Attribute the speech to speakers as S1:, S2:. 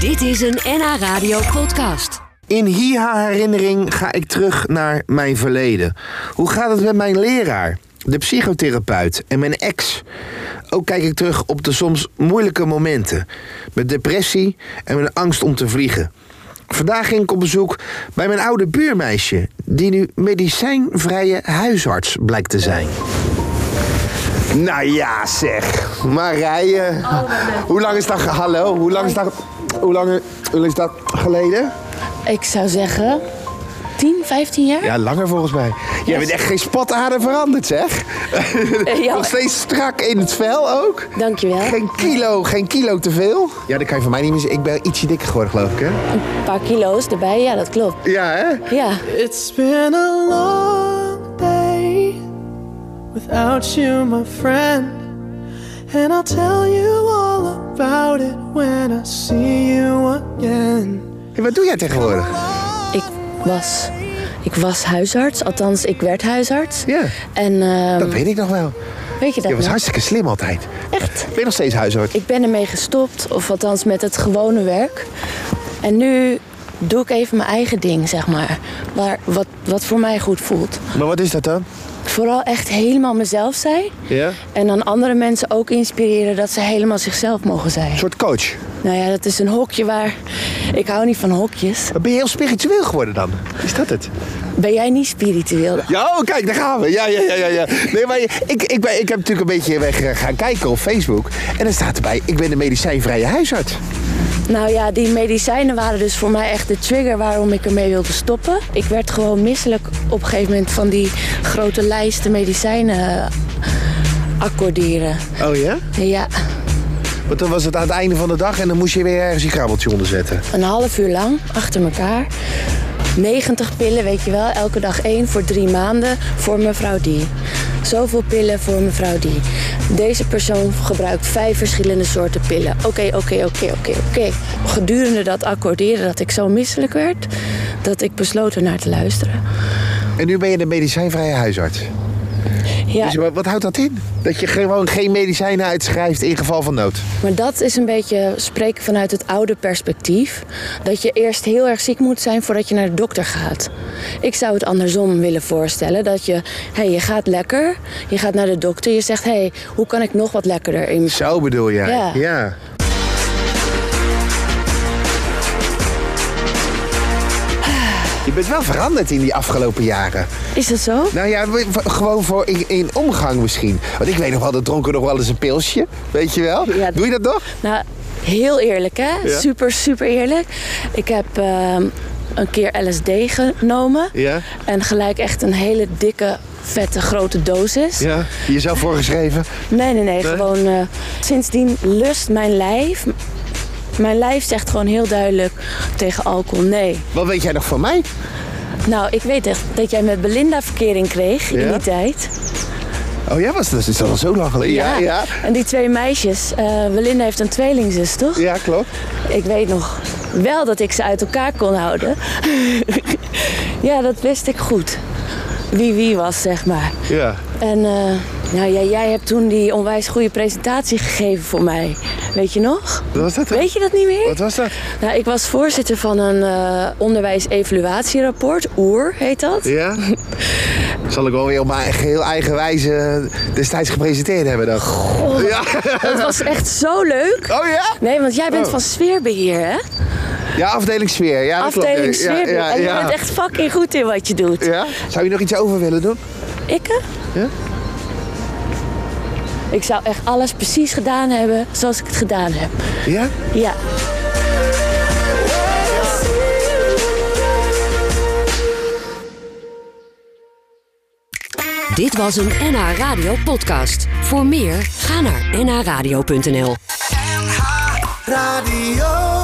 S1: Dit is een NH Radio podcast.
S2: In HIHA-herinnering ga ik terug naar mijn verleden. Hoe gaat het met mijn leraar, de psychotherapeut en mijn ex? Ook kijk ik terug op de soms moeilijke momenten. Mijn depressie en mijn angst om te vliegen. Vandaag ging ik op bezoek bij mijn oude buurmeisje... die nu medicijnvrije huisarts blijkt te zijn. Nou ja, zeg. Marije. hoe lang is dat... ge- Hallo, hoe lang is dat... Hoe lang, hoe lang is dat geleden?
S3: Ik zou zeggen 10, 15 jaar.
S2: Ja, langer volgens mij. Jij bent echt geen spatader veranderd, zeg.
S3: ja.
S2: Nog steeds strak in het vel ook.
S3: Dankjewel.
S2: Geen kilo, geen kilo te veel. Ja, dat kan je van mij niet meer zeggen. Ik ben ietsje dikker geworden, geloof ik, hè?
S3: Een paar kilo's erbij, ja, dat klopt.
S2: Ja, hè?
S3: Ja,
S4: It's been a long day without you, my friend. And I'll tell you all about it when I see you again.
S2: Hey, wat doe jij tegenwoordig?
S3: ik was, ik was huisarts, althans, ik werd huisarts.
S2: Ja.
S3: En ehm,
S2: Dat weet ik nog wel.
S3: weet je dat
S2: Je was
S3: nog?
S2: hartstikke slim altijd.
S3: Echt?
S2: Ben je nog steeds huisarts?
S3: Ik ben ermee gestopt, of althans met het gewone werk. En nu doe ik even mijn eigen ding, zeg maar. Waar, wat, wat voor mij goed voelt.
S2: Maar wat is dat dan?
S3: Vooral echt helemaal mezelf zijn.
S2: Ja? Een
S3: En dan andere mensen ook inspireren dat ze helemaal zichzelf mogen zijn.
S2: soort coach.
S3: Nou ja, dat is een hokje waar... Ik hou niet van hokjes.
S2: Ben je heel spiritueel geworden dan? Is dat het?
S3: Ben jij niet spiritueel?
S2: Ja, oh, kijk, daar gaan we. Ja, ja, ja, ja. ja. Nee, maar ik, ik, ik, ben- ik heb natuurlijk een beetje weg eh, gaan kijken op Facebook. En dan staat erbij, ik ben de medicijnvrije huisarts.
S3: Nou ja, die medicijnen waren dus voor mij echt de trigger waarom ik ermee wilde stoppen. Ik werd gewoon misselijk op een gegeven moment van die grote lijsten medicijnen eh, accorderen.
S2: Oh ja?
S3: Ja,
S2: Want dan was het aan het einde van de dag en dan moest je weer ergens je krabbeltje onderzetten.
S3: een half uur lang achter elkaar. 90 pillen, weet je wel, elke dag één voor drie maanden voor mevrouw die. Zoveel pillen voor mevrouw die. Deze persoon gebruikt vijf verschillende soorten pillen. Oké, oké, oké, oké, oké. Gedurende dat accorderen dat ik zo misselijk werd, dat ik besloot er naar te luisteren.
S2: En nu ben je de medicijnvrije huisarts.
S3: Ja,
S2: Dus wat, wat houdt dat in? Dat je gewoon geen medicijnen uitschrijft in geval van nood.
S3: maar dat is een beetje spreken vanuit het oude perspectief. Dat je eerst heel erg ziek moet zijn voordat je naar de dokter gaat. Ik zou het andersom willen voorstellen. Dat je, hey, je gaat lekker, je gaat naar de dokter. Je zegt, hé, hey, hoe kan ik nog wat lekkerder in mijn...
S2: Zo bedoel jij?
S3: Ja.
S2: ja. Je bent wel veranderd in die afgelopen jaren.
S3: Is dat zo?
S2: Nou ja, we- v- gewoon voor in, in omgang misschien. Want ik weet nog wel, dat dronken nog wel eens een pilsje. Weet je wel?
S3: Ja.
S2: Doe je dat nog?
S3: Nou, heel eerlijk hè?
S2: Ja.
S3: Super, super eerlijk. Ik heb ehm, een keer LSD genomen.
S2: Ja.
S3: En gelijk echt een hele dikke, vette, grote dosis.
S2: Ja. Jezelf voorgeschreven?
S3: Nee, nee, nee. Gewoon eh, sindsdien lust mijn lijf. Mijn lijf zegt gewoon heel duidelijk tegen alcohol nee.
S2: Wat weet jij nog van mij?
S3: Nou, ik weet echt dat jij met Belinda verkering kreeg in
S2: Ja?
S3: die tijd.
S2: Oh ja, was dat, is dat al zo lang geleden? ja.
S3: En die twee meisjes. eh, Belinda heeft een tweelingzus, toch?
S2: Ja, klopt.
S3: Ik weet nog wel dat ik ze uit elkaar kon houden. ja, dat wist ik goed. Wie wie was, zeg maar.
S2: Ja.
S3: En eh, nou, jij, jij hebt toen die onwijs goede presentatie gegeven voor mij. Weet je nog?
S2: Wat was dat dan?
S3: Weet je dat niet meer?
S2: Wat was dat?
S3: Nou, ik was voorzitter van een eh onderwijs-evaluatierapport. OER heet dat.
S2: Ja? Zal ik wel weer op mijn geheel eigen wijze destijds gepresenteerd hebben dan? Ja.
S3: Dat was echt zo leuk.
S2: Oh ja?
S3: Nee, want jij bent
S2: Oh.
S3: van sfeerbeheer, hè?
S2: Ja, afdeling sfeer. Ja, dat klopt.
S3: Afdeling
S2: Ja,
S3: sfeerbeheer.
S2: Ja,
S3: en je
S2: ja.
S3: bent echt fucking goed in wat je doet.
S2: Ja? Zou je nog iets over willen doen?
S3: Ikke?
S2: Ja?
S3: Ik zou echt alles precies gedaan hebben zoals ik het gedaan heb.
S2: Ja?
S3: Ja.
S1: Dit was een NH Radio podcast. Voor meer, ga naar nhradio.nl.
S5: Radio.